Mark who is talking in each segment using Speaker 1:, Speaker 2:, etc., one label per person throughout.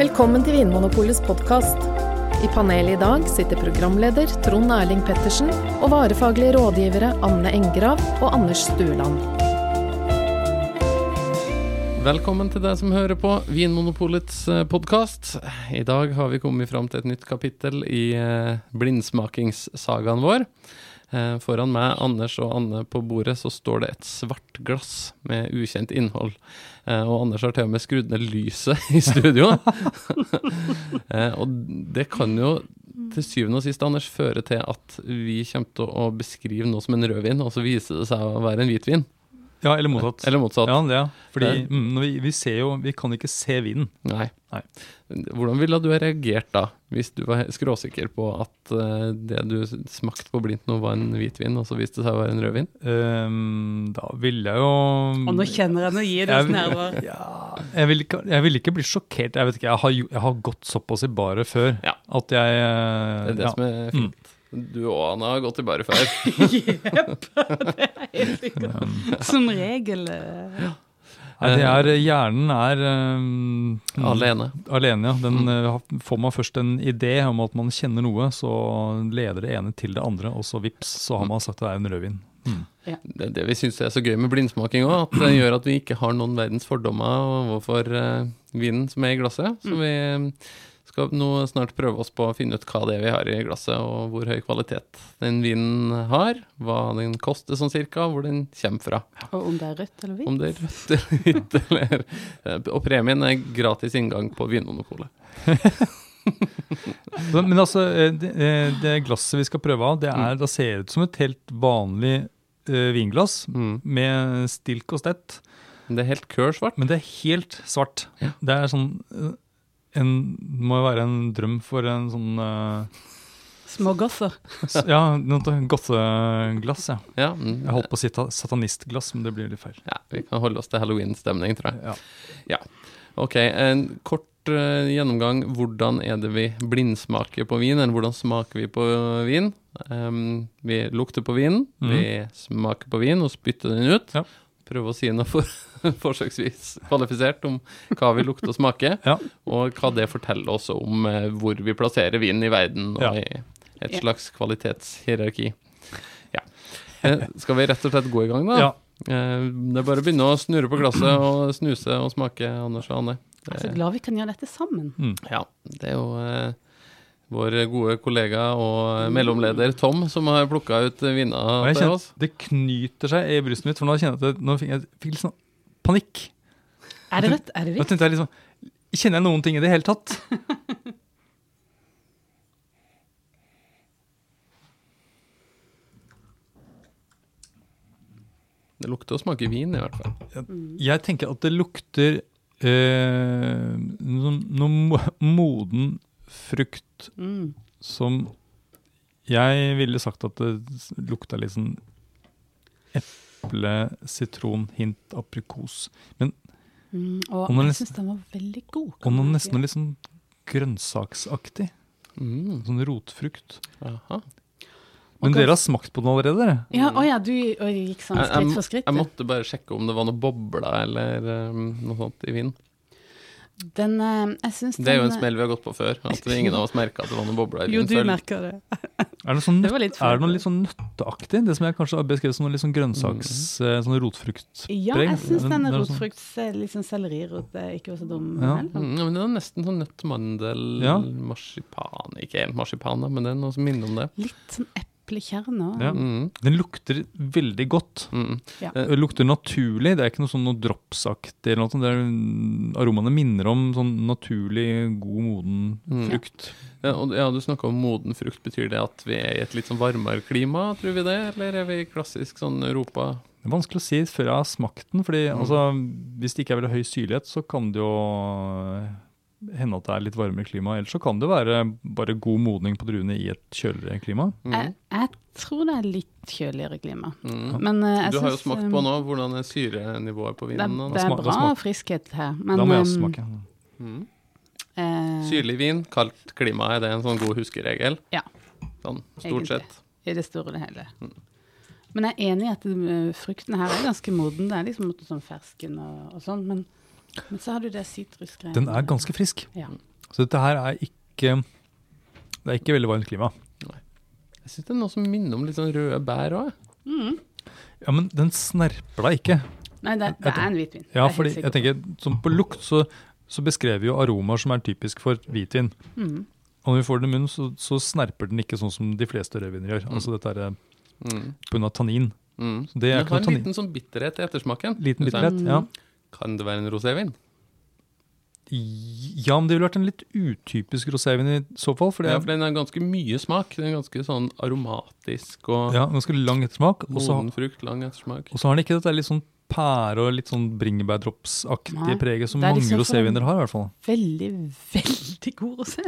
Speaker 1: Velkommen til Vinmonopolets podkast. I panelet i dag sitter programleder Trond Erling Pettersen og varefaglige rådgivere Anne Engrav og Anders Stueland.
Speaker 2: Velkommen til deg som hører på Vinmonopolets podkast. I dag har vi kommet fram til et nytt kapittel i eh, blindsmakingssagaen vår. Eh, Foran meg, Anders og Anne på bordet, så står det et svart glass med ukjent innhold. Eh, Og Anders har til og med skrudd ned lyset i studio. Eh, Og det kan jo til syvende og sist, Anders, føre til at vi kommer til å beskrive noe som en rødvin, og så viser det seg å være en hvitvin.
Speaker 3: Ja, eller motsatt.
Speaker 2: Eller motsatt.
Speaker 3: Ja, det, ja. Fordi
Speaker 2: Det-
Speaker 3: mm, når vi, vi ser jo Vi kan ikke se vinen.
Speaker 2: Nei.
Speaker 3: Nei.
Speaker 2: Hvordan ville du ha reagert da, hvis du var skråsikker på at eh, det du smakte på blindt nå, var en hvitvin, og så viste det seg å være en rødvin?
Speaker 3: Ehm, da ville jeg jo
Speaker 4: Og nå kjenner jeg nå gir det
Speaker 3: Jeg-
Speaker 4: oss nerver.
Speaker 3: Mm. ja, jeg ville ikke, jeg vil ikke bli sjokkert. Jeg vet ikke, jeg har, jo- jeg har gått såpass i baret før
Speaker 2: Ja.
Speaker 3: at jeg
Speaker 2: Det er det som er
Speaker 3: Mm.
Speaker 2: fint. Du og Anna har gått i bare før.
Speaker 4: Jepp. Det er helt sikkert. Som regel. eh,
Speaker 3: Nei, det er, Hjernen er ehm,
Speaker 2: Alene. Mm.
Speaker 3: alene, ja. Den eh, har- får man først en idé om at man kjenner noe, så leder det ene til det andre, og så vips, så
Speaker 2: Mm.
Speaker 3: har man sagt det er en rødvin.
Speaker 2: Det er det vi syns er så gøy med blindsmaking òg, at det gjør at vi ikke har noen verdens fordommer overfor eh, vinen som er i glasset. Så vi mm, skal nå snart prøve oss på å finne ut hva det er vi har i glasset, og hvor høy kvalitet den vinen har, hva den koster sånn cirka, og hvor den kommer fra.
Speaker 4: Og om det er rødt eller hvitt.
Speaker 2: Om det er rødt eller hvitt eller Og premien er gratis inngang på Vinmonopolet.
Speaker 3: Men men altså, eh, det, eh, det glasset vi skal prøve av, det er, da ser det ut som et helt vanlig eh, vinglass med stilk og stett,
Speaker 2: Det er helt kør svart.
Speaker 3: men det er helt svart. Det er sånn eh, en, det må jo være en drøm for en sånn eh,
Speaker 4: Små gosser.
Speaker 3: s- Ja, noe godteglass, ja.
Speaker 2: Ja, mm.
Speaker 3: Jeg holdt på å si ta- satanistglass, men det blir litt feil.
Speaker 2: ja, vi kan holde oss til halloween-stemning, tror jeg.
Speaker 3: Ja.
Speaker 2: Ok, en kort eh, gjennomgang. Hvordan er det vi blindsmaker på vin, eller hvordan smaker vi på vin? Em, vi lukter på vinen, vi smaker på vin og spytter den ut.
Speaker 3: Mhm. Ja.
Speaker 2: Prøver å si noe for, forsøksvis kvalifisert om hva vi lukter og smaker,
Speaker 3: Ja.
Speaker 2: og hva det forteller oss om eh, hvor vi plasserer vinen i verden, og
Speaker 3: Ja.
Speaker 2: i et
Speaker 4: Ja.
Speaker 2: slags kvalitetshierarki. Ja. Eh, Skal vi rett og slett gå i gang, da?
Speaker 3: Ja.
Speaker 2: Eh, Det er bare å begynne å snurre på glasset og snuse og smake, Anders og Anne.
Speaker 4: Jeg er så glad vi kan gjøre dette sammen.
Speaker 2: Ja, det er jo eh, vår gode kollega og mellomleder Tom som har plukka ut
Speaker 3: Og
Speaker 2: vinner
Speaker 3: jeg
Speaker 2: til
Speaker 3: kjenner
Speaker 2: oss.
Speaker 3: at det knyter seg i brystet mitt, for nå kjenner jeg at det, nå fikk jeg fikk litt sånn panikk.
Speaker 4: Er det rødt? Er det
Speaker 3: Da
Speaker 4: hvitt?
Speaker 3: tenkte jeg liksom Kjenner jeg noen ting i det hele tatt?
Speaker 2: Det lukter og smaker vin, i hvert fall.
Speaker 3: Jeg tenker at det lukter eh, noe, noe mo- moden frukt
Speaker 4: Mm.
Speaker 3: som Jeg ville sagt at det s- lukta litt sånn eple, sitron, hint, aprikos.
Speaker 4: Mm. Og
Speaker 3: Og når
Speaker 4: jeg
Speaker 3: det-
Speaker 4: syns den var veldig god.
Speaker 3: Og
Speaker 4: kan
Speaker 3: noe
Speaker 4: man si.
Speaker 3: nesten litt sånn grønnsaksaktig.
Speaker 2: Mm,
Speaker 3: Sånn rotfrukt.
Speaker 2: aha.
Speaker 3: Men
Speaker 4: Og
Speaker 3: dere har smakt på den allerede, dere?
Speaker 4: Ja, å ja, du og jeg gikk sånn
Speaker 2: Jeg,
Speaker 4: skritt for
Speaker 2: jeg, jeg
Speaker 4: skritt.
Speaker 2: måtte bare sjekke om det var noe bobler eller eh, noe sånt i vinen.
Speaker 4: Den, eh, jeg syns den
Speaker 2: Det er jo en smell vi har gått på før. At ingen av oss merka at det var noe bobler i
Speaker 4: Jo,
Speaker 2: vinen.
Speaker 4: du
Speaker 2: selv.
Speaker 4: merker det.
Speaker 3: Er det, sånn
Speaker 4: Det
Speaker 3: nøtt,
Speaker 4: var litt
Speaker 3: er det noe litt sånn nøtteaktig? Det som jeg kanskje har beskrevet som noe litt sånn grønnsaks... eh, Sånn rotfruktpreg?
Speaker 4: Mm. Ja, jeg syns
Speaker 3: Men
Speaker 4: den
Speaker 3: det er sånn-
Speaker 4: rotfrukt, eh, litt sånn sellerirot, er ikke så dum
Speaker 3: Ja.
Speaker 4: heller.
Speaker 2: Mm, ja, men det er nesten sånn nøtt, mandel,
Speaker 3: Ja.
Speaker 2: marsipan Ikke helt marsipan, da, men det er noe som minner om det.
Speaker 4: Litt sånn eplekjerne òg.
Speaker 3: Ja.
Speaker 2: Mm,
Speaker 3: Den lukter veldig godt.
Speaker 2: mm.
Speaker 3: Eh, Det lukter naturlig. Det er ikke noe sånn noe dropsaktig. eller noe sånt. Det er, mm, aromaene minner om sånn naturlig, god, moden
Speaker 2: Mm.
Speaker 3: frukt.
Speaker 2: Ja, og, ja, du snakka om moden frukt. Betyr det at vi er i et litt sånn varmere klima, tror vi det? Eller er vi i klassisk sånn Europa?
Speaker 3: Det er vanskelig å si før jeg har smakt den. fordi
Speaker 4: Mm.
Speaker 3: altså, Hvis det ikke er veldig høy syrlighet, så kan det jo eh, hende at det er litt varmere klima. Ellers så kan det være bare god modning på druene i et kjøligere klima.
Speaker 4: Jeg, jeg tror det er litt kjøligere klima.
Speaker 2: Mm.
Speaker 4: Men eh, jeg
Speaker 2: Du har jo
Speaker 4: syns,
Speaker 2: smakt
Speaker 4: eh,
Speaker 2: på nå hvordan er syrenivået på
Speaker 4: Det er,
Speaker 2: vinen. nå,
Speaker 4: det
Speaker 2: da?
Speaker 4: er
Speaker 3: smak- da
Speaker 4: bra
Speaker 3: smak-
Speaker 4: friskhet her, men
Speaker 3: da må jeg også
Speaker 4: um,
Speaker 3: smake.
Speaker 2: Mm.
Speaker 4: eh,
Speaker 2: Syrlig vin, kaldt klima, er det en sånn god huskeregel?
Speaker 4: Ja.
Speaker 2: Sånn,
Speaker 4: Egentlig.
Speaker 2: stort sett.
Speaker 4: I det store og det hele.
Speaker 3: Mm.
Speaker 4: Men jeg er enig i at eh, frukten her er ganske moden. Det er liksom sånn fersken og, og sånn, men, men så har du det sitrusgreiene.
Speaker 3: Den er ganske frisk.
Speaker 4: ja.
Speaker 3: Så dette her er ikke Det er ikke veldig varmt klima.
Speaker 2: Jeg syns det er noe som minner om litt sånn røde bær òg.
Speaker 4: Mm.
Speaker 3: Ja, men den snerper deg ikke.
Speaker 4: Nei, det, det er en hvitvin. Det er
Speaker 3: Ja,
Speaker 4: helt
Speaker 3: fordi jeg
Speaker 4: sikkert.
Speaker 3: tenker, som på lukt så, så beskrev vi jo aromaer som er typisk for hvitvin.
Speaker 4: Mm.
Speaker 3: Og når vi får den i munnen, så, så snerper den ikke sånn som de fleste rødviner gjør. Altså dette er eh,
Speaker 2: Mm.
Speaker 3: på grunn av tannin.
Speaker 2: Mm.
Speaker 3: Så det er
Speaker 2: Den
Speaker 3: ikke
Speaker 2: har
Speaker 3: noe
Speaker 2: en
Speaker 3: tannin.
Speaker 2: liten sånn bitterhet i ettersmaken.
Speaker 3: Liten
Speaker 2: Du sa,
Speaker 3: bitterhet, ja.
Speaker 2: Kan det være en rosévin?
Speaker 3: Ja, men det ville vært en litt utypisk rosévin i så fall. For det
Speaker 2: Ja,
Speaker 3: er
Speaker 2: for den har ganske mye smak. Den er ganske sånn aromatisk og
Speaker 3: ja, ganske lang ettersmak. Og så
Speaker 2: moden frukt, lang ettersmak.
Speaker 3: og så har den ikke dette litt sånn pære og litt sånn bringebærdropsaktige
Speaker 4: Nei,
Speaker 3: preget som
Speaker 4: det er
Speaker 3: mange
Speaker 4: liksom for en-
Speaker 3: roséviner har, i hvert fall.
Speaker 4: Veldig, veldig god rosé.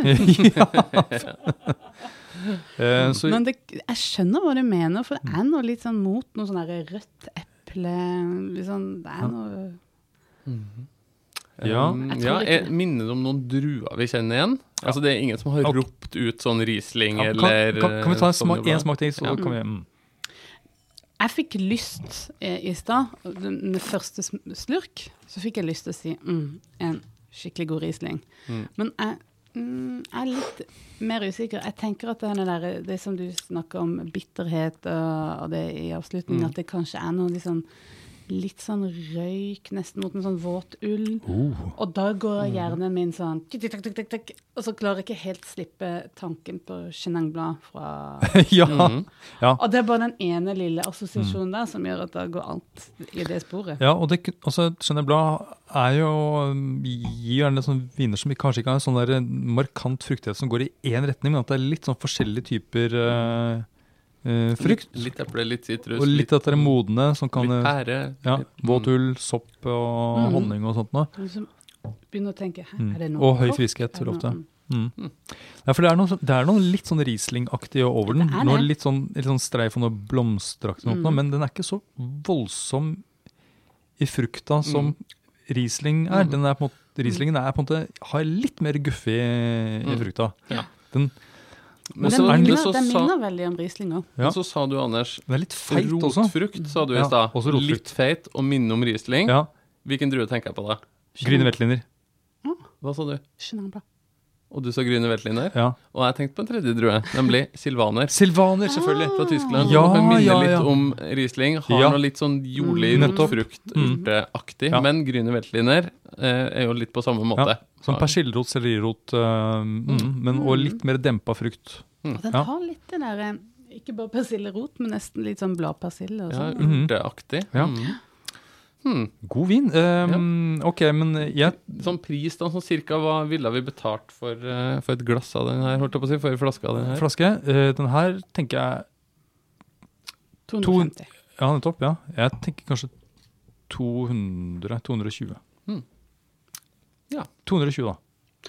Speaker 3: ja. Eh, så, Mm.
Speaker 4: Men det, jeg skjønner hva du mener, for det er noe litt sånn mot noe sånn der rødt eple litt sånn- Det
Speaker 3: Ja.
Speaker 4: er noe
Speaker 3: Ja.
Speaker 2: Um,
Speaker 4: Jeg tror
Speaker 2: ja,
Speaker 4: ikke
Speaker 2: jeg
Speaker 4: det.
Speaker 2: minner det om noen druer vi kjenner igjen. Altså Det er ingen som har
Speaker 3: Ok.
Speaker 2: ropt ut sånn Riesling
Speaker 3: ja, kan,
Speaker 2: eller eh, sånn
Speaker 3: kan, kan vi ta en smak,
Speaker 2: Sauvignon
Speaker 3: en smak til, så
Speaker 2: Ja.
Speaker 3: kan vi mm.
Speaker 4: Jeg fikk lyst eh, i stad, den den første sm- slurk, så fikk jeg lyst til å si mm, en skikkelig god Riesling.
Speaker 2: Mm.
Speaker 4: Men jeg mm, jeg er litt mer usikker. Jeg tenker at det, er noe der, det som du snakker om, bitterhet og, og det i avslutningen,
Speaker 2: Mm.
Speaker 4: at det kanskje er noe litt sånn, litt sånn røyk, nesten mot en sånn våt ull.
Speaker 2: Uh.
Speaker 4: Og da går
Speaker 2: Mm.
Speaker 4: hjernen min sånn tikk, tikk, tikk, tikk, tikk, Og så klarer jeg ikke helt slippe tanken på Chenin Blanc fra
Speaker 3: ja.
Speaker 2: Mhm.
Speaker 3: ja.
Speaker 4: Og det er bare den ene lille assosiasjonen der som gjør at det går alt i det sporet.
Speaker 3: Mm. Ja, og det, kun- altså, Chenin Blanc er jo, um, gir gjerne sånne viner som kanskje ikke har en sånn der markant fruktighet som går i én retning, men at det er litt sånn forskjellige typer eh, eh, frukt.
Speaker 2: Litt, litt eple, litt sitrus,
Speaker 3: og litt
Speaker 2: litt,
Speaker 3: at det er modne, som kan
Speaker 2: litt
Speaker 3: eh,
Speaker 2: pære. Mm.
Speaker 3: ja,
Speaker 2: litt-
Speaker 3: Våt ull, sopp og
Speaker 4: Mhm.
Speaker 3: honning og sånt noe.
Speaker 4: Du som begynner å tenke Hæ,
Speaker 3: Mm.
Speaker 4: er det noe
Speaker 3: Og høy
Speaker 4: kokt?
Speaker 3: friskhet,
Speaker 4: Er det
Speaker 3: tror jeg
Speaker 4: noe-
Speaker 3: ofte. Mm. Ja, for det er noe, det er noe litt sånn Riesling-aktig over den.
Speaker 4: Det er
Speaker 3: Noe
Speaker 4: det.
Speaker 3: litt sånn, litt sånn streif og noe blomsteraktig, og sånt
Speaker 4: Mm.
Speaker 3: noe, men den er ikke så voldsom i frukta som
Speaker 4: Mm.
Speaker 3: Riesling er.
Speaker 2: Mm.
Speaker 3: Den er på en måte, Rieslingen er på en måte, har litt mer guffe i, i
Speaker 2: Mm.
Speaker 3: frukta.
Speaker 2: Ja.
Speaker 3: Den,
Speaker 4: Men
Speaker 2: så-
Speaker 4: den
Speaker 3: er den
Speaker 4: minner,
Speaker 2: Mm. men så
Speaker 4: den
Speaker 2: sa-
Speaker 4: minner veldig om Riesling òg.
Speaker 3: Ja.
Speaker 2: Men så sa du, Anders,
Speaker 3: den er litt feit også.
Speaker 2: rotfrukt, sa du i
Speaker 3: Ja,
Speaker 2: stad.
Speaker 3: også rotfrukt.
Speaker 2: Litt feit og minner om Riesling.
Speaker 3: Ja,
Speaker 2: Hvilken drue tenker jeg på da?
Speaker 3: Grüne Veltliner.
Speaker 2: Hva sa du?
Speaker 4: Chenin Blanc.
Speaker 2: Og du sa Grüne Veltliner.
Speaker 3: Ja.
Speaker 2: Og jeg tenkte på en tredje drue, nemlig silvaner.
Speaker 3: Silvaner, selvfølgelig!
Speaker 2: Fra Tyskland.
Speaker 3: Ja,
Speaker 2: som minner
Speaker 3: ja, ja.
Speaker 2: litt om Riesling. Har
Speaker 3: Ja.
Speaker 2: noe litt sånn jordlig
Speaker 3: Mm. Nettopp.
Speaker 2: rotfrukt,
Speaker 3: Mm.
Speaker 2: urteaktig.
Speaker 3: Ja.
Speaker 2: Men Grüne Veltliner eh, er jo litt på samme måte.
Speaker 4: Ah.
Speaker 3: Som Sånn persillerot, sellerirot, eh, mm, men, og litt mer dempa frukt.
Speaker 4: Og den
Speaker 3: Ja.
Speaker 4: har litt det derre ikke bare persillerot, men nesten litt sånn bladpersille. og
Speaker 2: Ja,
Speaker 4: sånn.
Speaker 3: Mhm.
Speaker 2: urteaktig.
Speaker 3: Ja.
Speaker 2: Mm. Hmm.
Speaker 3: God vin. Eh, Ok, men jeg
Speaker 2: Sånn pris, da, sånn cirka, hva ville vi betalt for, eh, for et glass av den her, holdt jeg på å si, for en flaske av den her?
Speaker 3: Flaske. eh, Den her tenker jeg
Speaker 4: 250.
Speaker 3: Ja, nettopp. Ja. Jeg tenker kanskje 200, 220.
Speaker 2: Mm. Ja.
Speaker 3: 220, da.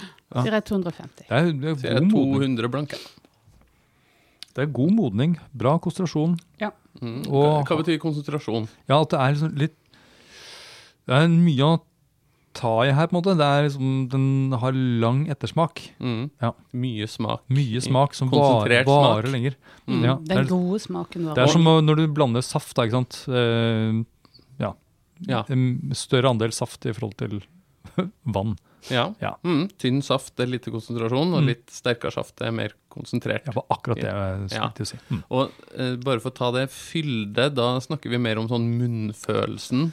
Speaker 3: Ja.
Speaker 4: Sier jeg 250.
Speaker 3: Det er, det,
Speaker 2: Så
Speaker 3: er
Speaker 2: jeg er
Speaker 3: god modning.
Speaker 2: 200 blanke.
Speaker 3: det er god modning. Bra konsentrasjon.
Speaker 2: Mm.
Speaker 3: Og-
Speaker 2: Hva betyr konsentrasjon?
Speaker 3: Ja, at det er liksom litt Det er mye å ta i her, på en måte. Det er liksom, den har lang ettersmak.
Speaker 2: Mm.
Speaker 3: Ja.
Speaker 2: Mye smak.
Speaker 3: Mye smak som varer,
Speaker 2: Mm. Konsentrert
Speaker 3: varer
Speaker 2: smak.
Speaker 3: lenger.
Speaker 2: Mm.
Speaker 3: Ja, det,
Speaker 4: Den
Speaker 3: er,
Speaker 4: gode smaken
Speaker 3: det
Speaker 4: du har.
Speaker 3: er som å- når du blander saft, da, ikke sant. Eh,
Speaker 2: Ja.
Speaker 3: en større andel saft i forhold til vann.
Speaker 2: ja.
Speaker 3: Ja.
Speaker 2: Mm. Tynn saft er lite konsentrasjon, og
Speaker 3: Mm.
Speaker 2: litt sterkere saft er mer konsentrert.
Speaker 3: Det var akkurat det jeg skulle
Speaker 2: Ja.
Speaker 3: til å si. Mm.
Speaker 2: Og eh, bare for å ta det fylde, da snakker vi mer om sånn munnfølelsen.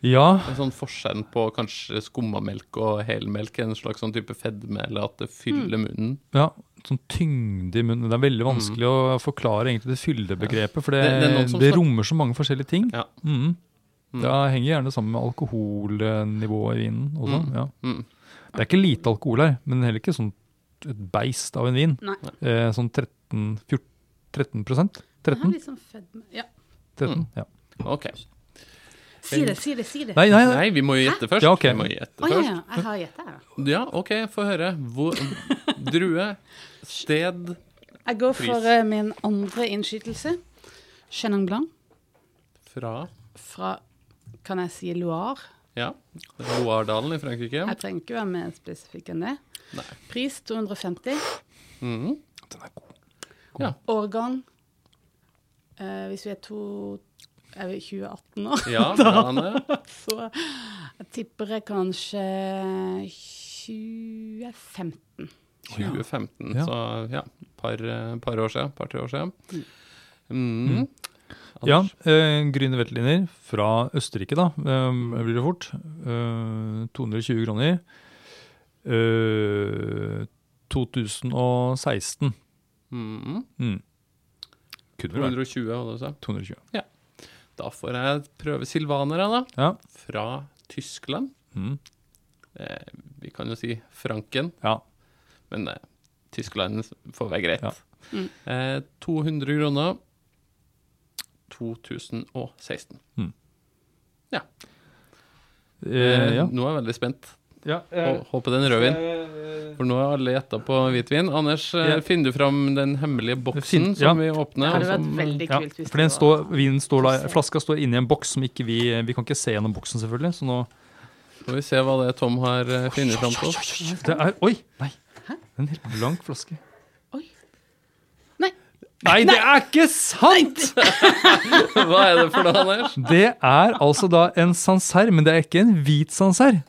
Speaker 3: Ja,
Speaker 2: En sånn forskjell på kanskje skummamelk og helmelk, en slags sånn type fedme, eller at det fyller munnen.
Speaker 3: Ja, sånn tyngde i munnen. Det er veldig vanskelig å forklare egentlig det fyllebegrepet, for det,
Speaker 2: Mm. Det- det er noen som snak-
Speaker 3: det, rommer så mange forskjellige ting.
Speaker 2: Ja.
Speaker 3: Mm.
Speaker 2: Mm.
Speaker 3: Det henger gjerne sammen med alkoholnivået i vinen. Også.
Speaker 2: Mm.
Speaker 3: Ja.
Speaker 2: Mm.
Speaker 3: Det er ikke lite alkohol her, men heller ikke sånn et beist av en vin.
Speaker 4: Nei.
Speaker 3: Eh, sånn 13, 14, 13 prosent?
Speaker 4: Den har
Speaker 3: 13?
Speaker 4: litt sånn fedme Ja.
Speaker 3: 13?
Speaker 2: Mm.
Speaker 3: Ja.
Speaker 2: Ok.
Speaker 3: Eh,
Speaker 4: Si det, si det, si det.
Speaker 3: Nei, nei, nei.
Speaker 2: Nei, vi må jo gjette først.
Speaker 3: Ja, ok.
Speaker 2: Vi må gjette
Speaker 4: Å ja,
Speaker 2: først.
Speaker 4: ja, jeg har gjetta, jeg. da.
Speaker 2: Ja, ok, få høre. Hvor, drue, sted,
Speaker 4: Jeg går
Speaker 2: Pris.
Speaker 4: for eh, min andre innskytelse. Chenin Blanc.
Speaker 2: fra
Speaker 4: fra kan jeg si Loire?
Speaker 2: ja, Loardalen i Frankrike.
Speaker 4: Jeg trenger ikke være mer spesifikk enn det.
Speaker 2: Nei.
Speaker 4: Pris 250.
Speaker 2: Mm.
Speaker 3: Den er god.
Speaker 4: Årgang eh, Hvis vi er to Er vi 2018 nå?
Speaker 2: Ja, bra, Anne.
Speaker 4: Så jeg tipper jeg kanskje 2015.
Speaker 2: 2015,
Speaker 3: Ja.
Speaker 2: så ja, par, eh, par år siden, par-tre år siden.
Speaker 4: Mm.
Speaker 2: Mm.
Speaker 3: Ja,
Speaker 2: Anders?
Speaker 3: eh, grüne Veltliner fra Østerrike, da, eh, blir det fort. Eh, 220 kroner. Eh, 2016.
Speaker 2: Mm.
Speaker 3: Mm. Kunne vel vært
Speaker 2: 220, var det du sa.
Speaker 3: 220.
Speaker 2: Da får jeg prøve silvanere, da.
Speaker 3: Ja.
Speaker 2: Fra Tyskland.
Speaker 3: Mm.
Speaker 2: Eh, vi kan jo si Franken,
Speaker 3: ja.
Speaker 2: men eh, Tyskland får være greit.
Speaker 3: Ja.
Speaker 4: Mm.
Speaker 2: Eh, 200 kroner. 2016. Eh,
Speaker 3: Eh, ja.
Speaker 2: Nå er jeg veldig spent.
Speaker 3: ja
Speaker 2: Hå- Håper det er en rødvin. For nå har alle gjetta på hvitvin. Anders, eh,
Speaker 3: Ja.
Speaker 2: finner du fram den hemmelige boksen
Speaker 3: Fin- ja.
Speaker 2: som vi åpner?
Speaker 4: Det hadde
Speaker 2: og
Speaker 4: vært
Speaker 2: sånn som,
Speaker 4: veldig
Speaker 3: Ja,
Speaker 4: kult hvis
Speaker 3: for den
Speaker 4: det
Speaker 3: står, vinen står da,
Speaker 4: Få se.
Speaker 3: flaska står inni en boks som ikke vi eh, Vi kan ikke se gjennom boksen, selvfølgelig. Så nå
Speaker 2: Får vi se hva det er Tom har eh, funnet fram på.
Speaker 3: det er, Oi! Nei. En helt blank flaske.
Speaker 4: Oi. Nei.
Speaker 3: Nei, det er ikke sant!
Speaker 2: Hva er det for noe, Anders?
Speaker 3: Det er altså da en Sancerre, men det er ikke en hvit Sancerre.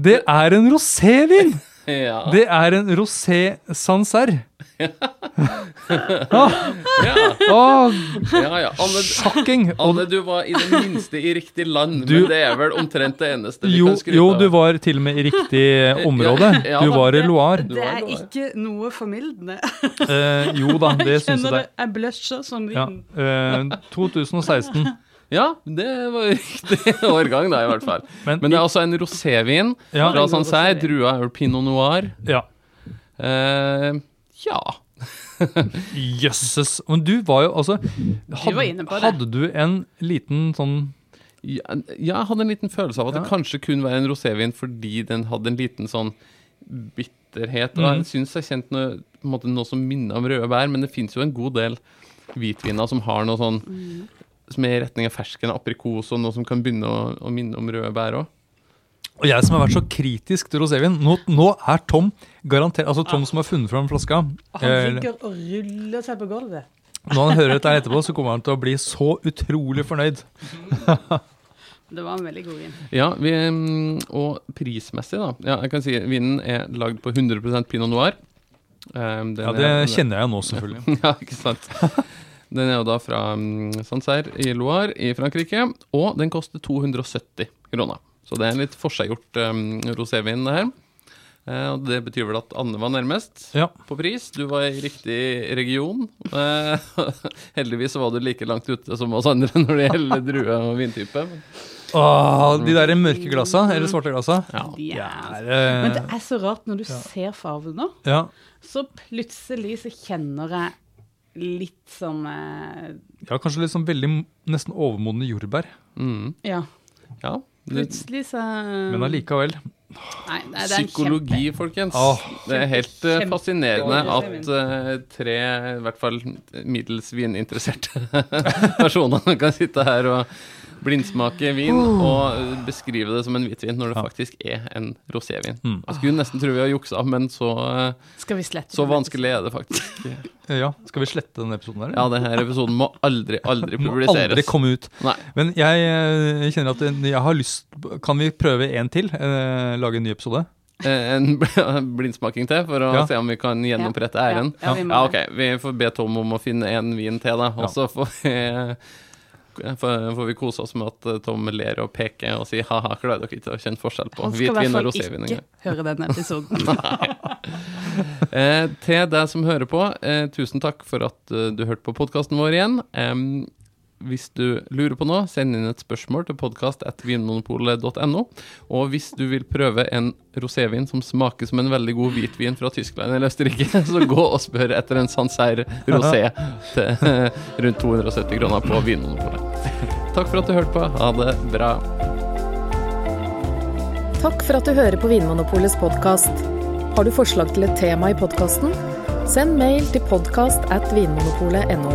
Speaker 3: Det er en rosévin!
Speaker 2: Ja.
Speaker 3: Det er en rosé Sancerre. Ah,
Speaker 2: ja.
Speaker 3: ah,
Speaker 2: ja, ja. Anne,
Speaker 3: shocking! Og
Speaker 2: Anne, du var i det minste i riktig land,
Speaker 3: Du-
Speaker 2: men det er vel omtrent det eneste vi
Speaker 3: jo,
Speaker 2: kan skryte
Speaker 3: jo,
Speaker 2: av.
Speaker 3: du var til og med i riktig område.
Speaker 2: Ja,
Speaker 3: Du
Speaker 2: da.
Speaker 3: var i Loire.
Speaker 2: Du
Speaker 4: Det
Speaker 2: var
Speaker 4: er
Speaker 2: glad.
Speaker 4: ikke noe formildende.
Speaker 3: Eh, jo da, det
Speaker 4: Jeg
Speaker 3: syns jeg det
Speaker 4: kjenner det.
Speaker 3: er.
Speaker 4: Jeg blusher som
Speaker 3: Ja.
Speaker 4: vinen.
Speaker 3: eh, 2016.
Speaker 2: Ja, det var jo riktig årgang, da, i hvert fall.
Speaker 3: Men,
Speaker 2: Men det er altså en rosévin
Speaker 3: Ja.
Speaker 2: fra Sancerre. Drua er pinot noir.
Speaker 3: ja.
Speaker 2: Eh, ja.
Speaker 3: Jøsses. Men du var jo altså
Speaker 4: Du var inne
Speaker 3: hadde,
Speaker 4: på det.
Speaker 3: hadde du en liten sånn
Speaker 2: Ja, Jeg hadde en liten følelse av at det kanskje kunne være en rosévin fordi den hadde en liten sånn bitterhet. Og
Speaker 3: Mhm.
Speaker 2: jeg syns jeg kjente noe, på en måte, noe som minner om røde bær, men det fins jo en god del hvitviner som har noe sånn
Speaker 3: Mhm.
Speaker 2: som er i retning av fersken og aprikos og noe som kan begynne å, å minne om røde bær òg.
Speaker 3: Og jeg som har vært så kritisk til rosévin Nå, nå er Tom garantert Altså Tom som har funnet fram flaska.
Speaker 4: Og Han
Speaker 3: Eh,
Speaker 4: ligger og ruller seg på gulvet.
Speaker 3: når han hører dette her etterpå, så kommer han til å bli så utrolig fornøyd.
Speaker 4: Det var en veldig god vin.
Speaker 2: Ja, vi, mm, og prismessig, da. Ja, jeg kan si Vinen er lagd på 100 pinot noir. Eh, den
Speaker 3: Ja,
Speaker 2: er-
Speaker 3: Det
Speaker 2: den er-
Speaker 3: kjenner jeg jo nå, selvfølgelig.
Speaker 2: Ja, ikke sant. Den er jo da fra mm, Sancerre i Loire i Frankrike, og den koster 270 kroner. Så det er en litt forseggjort um, rosévin, det her. Eh, og det betyr vel at Anne var nærmest
Speaker 3: Ja.
Speaker 2: på pris. Du var i riktig region. Eh, heldigvis så var du like langt ute som oss andre når det gjelder drue og vintype. men-
Speaker 3: Åh, de der mørke glassa, eller svarte glassa.
Speaker 4: Ja. Altså. Men
Speaker 3: Er,
Speaker 4: det
Speaker 3: eh,
Speaker 4: er så rart når du ser farven nå,
Speaker 3: ja.
Speaker 4: så plutselig så kjenner jeg litt som eh,
Speaker 3: ja, kanskje litt sånn veldig nesten overmodne jordbær.
Speaker 2: Mm,
Speaker 4: Ja,
Speaker 2: ja. Det,
Speaker 4: plutselig så
Speaker 3: Men
Speaker 4: Mm.
Speaker 3: allikevel.
Speaker 4: Nei, nei, det er en
Speaker 2: Psykologi, folkens.
Speaker 3: Åh.
Speaker 2: Det er helt eh,
Speaker 4: Kjempe-
Speaker 2: fascinerende
Speaker 4: kjempe-
Speaker 2: at eh, tre, i hvert fall middels vininteresserte personer kan sitte her og blindsmake vin og eh, beskrive det som en hvitvin når det
Speaker 3: Ja.
Speaker 2: faktisk er en rosévin.
Speaker 3: Mm.
Speaker 2: Jeg skulle nesten tro vi har juksa, men så, eh,
Speaker 4: kjempe- Skal vi slette
Speaker 2: så
Speaker 4: det?
Speaker 2: vanskelig er det faktisk.
Speaker 3: Eh, Ja, Skal vi slette denne episoden her?
Speaker 2: Ja, denne episoden må aldri, aldri
Speaker 3: Den Må aldri
Speaker 2: publiseres.
Speaker 3: komme ut.
Speaker 2: Nei.
Speaker 3: Men jeg eh, kjenner at jeg har lyst Kan vi prøve en til? Eh, lage en ny episode?
Speaker 2: Eh, En bl- blindsmaking til for å
Speaker 3: Ja.
Speaker 2: se om vi kan gjenopprette æren.
Speaker 4: Ja, ja, vi må
Speaker 2: Ja,
Speaker 4: det.
Speaker 2: ok. Vi får be Tom om å finne en vin til, da. Og så får vi eh, får får vi kose oss med at eh, Tom ler og peker og sier ha-ha, klarer dere ikke å kjenne forskjell på
Speaker 4: Han skal i hvert
Speaker 2: hvitvin og
Speaker 4: fall
Speaker 2: rosévin?
Speaker 4: ikke
Speaker 2: engang?»
Speaker 4: høre denne episoden.
Speaker 2: Eh, til deg som hører på, eh, tusen takk for at eh, du hørte på podkasten vår igjen. Em, hvis du lurer på noe, send inn et spørsmål til podkast.vinmonopolet.no. Og hvis du vil prøve en rosévin som smaker som en veldig god hvitvin fra Tyskland eller Østerrike, så gå og spør etter en Sancerre rosé til eh, rundt 270 kroner på Vinmonopolet. Takk for at du hørte på. Ha det bra.
Speaker 1: Takk for at du hører på Vinmonopolets podkast. Har du forslag til et tema i podkasten? Send mail til podkast at vinmonopolet.no.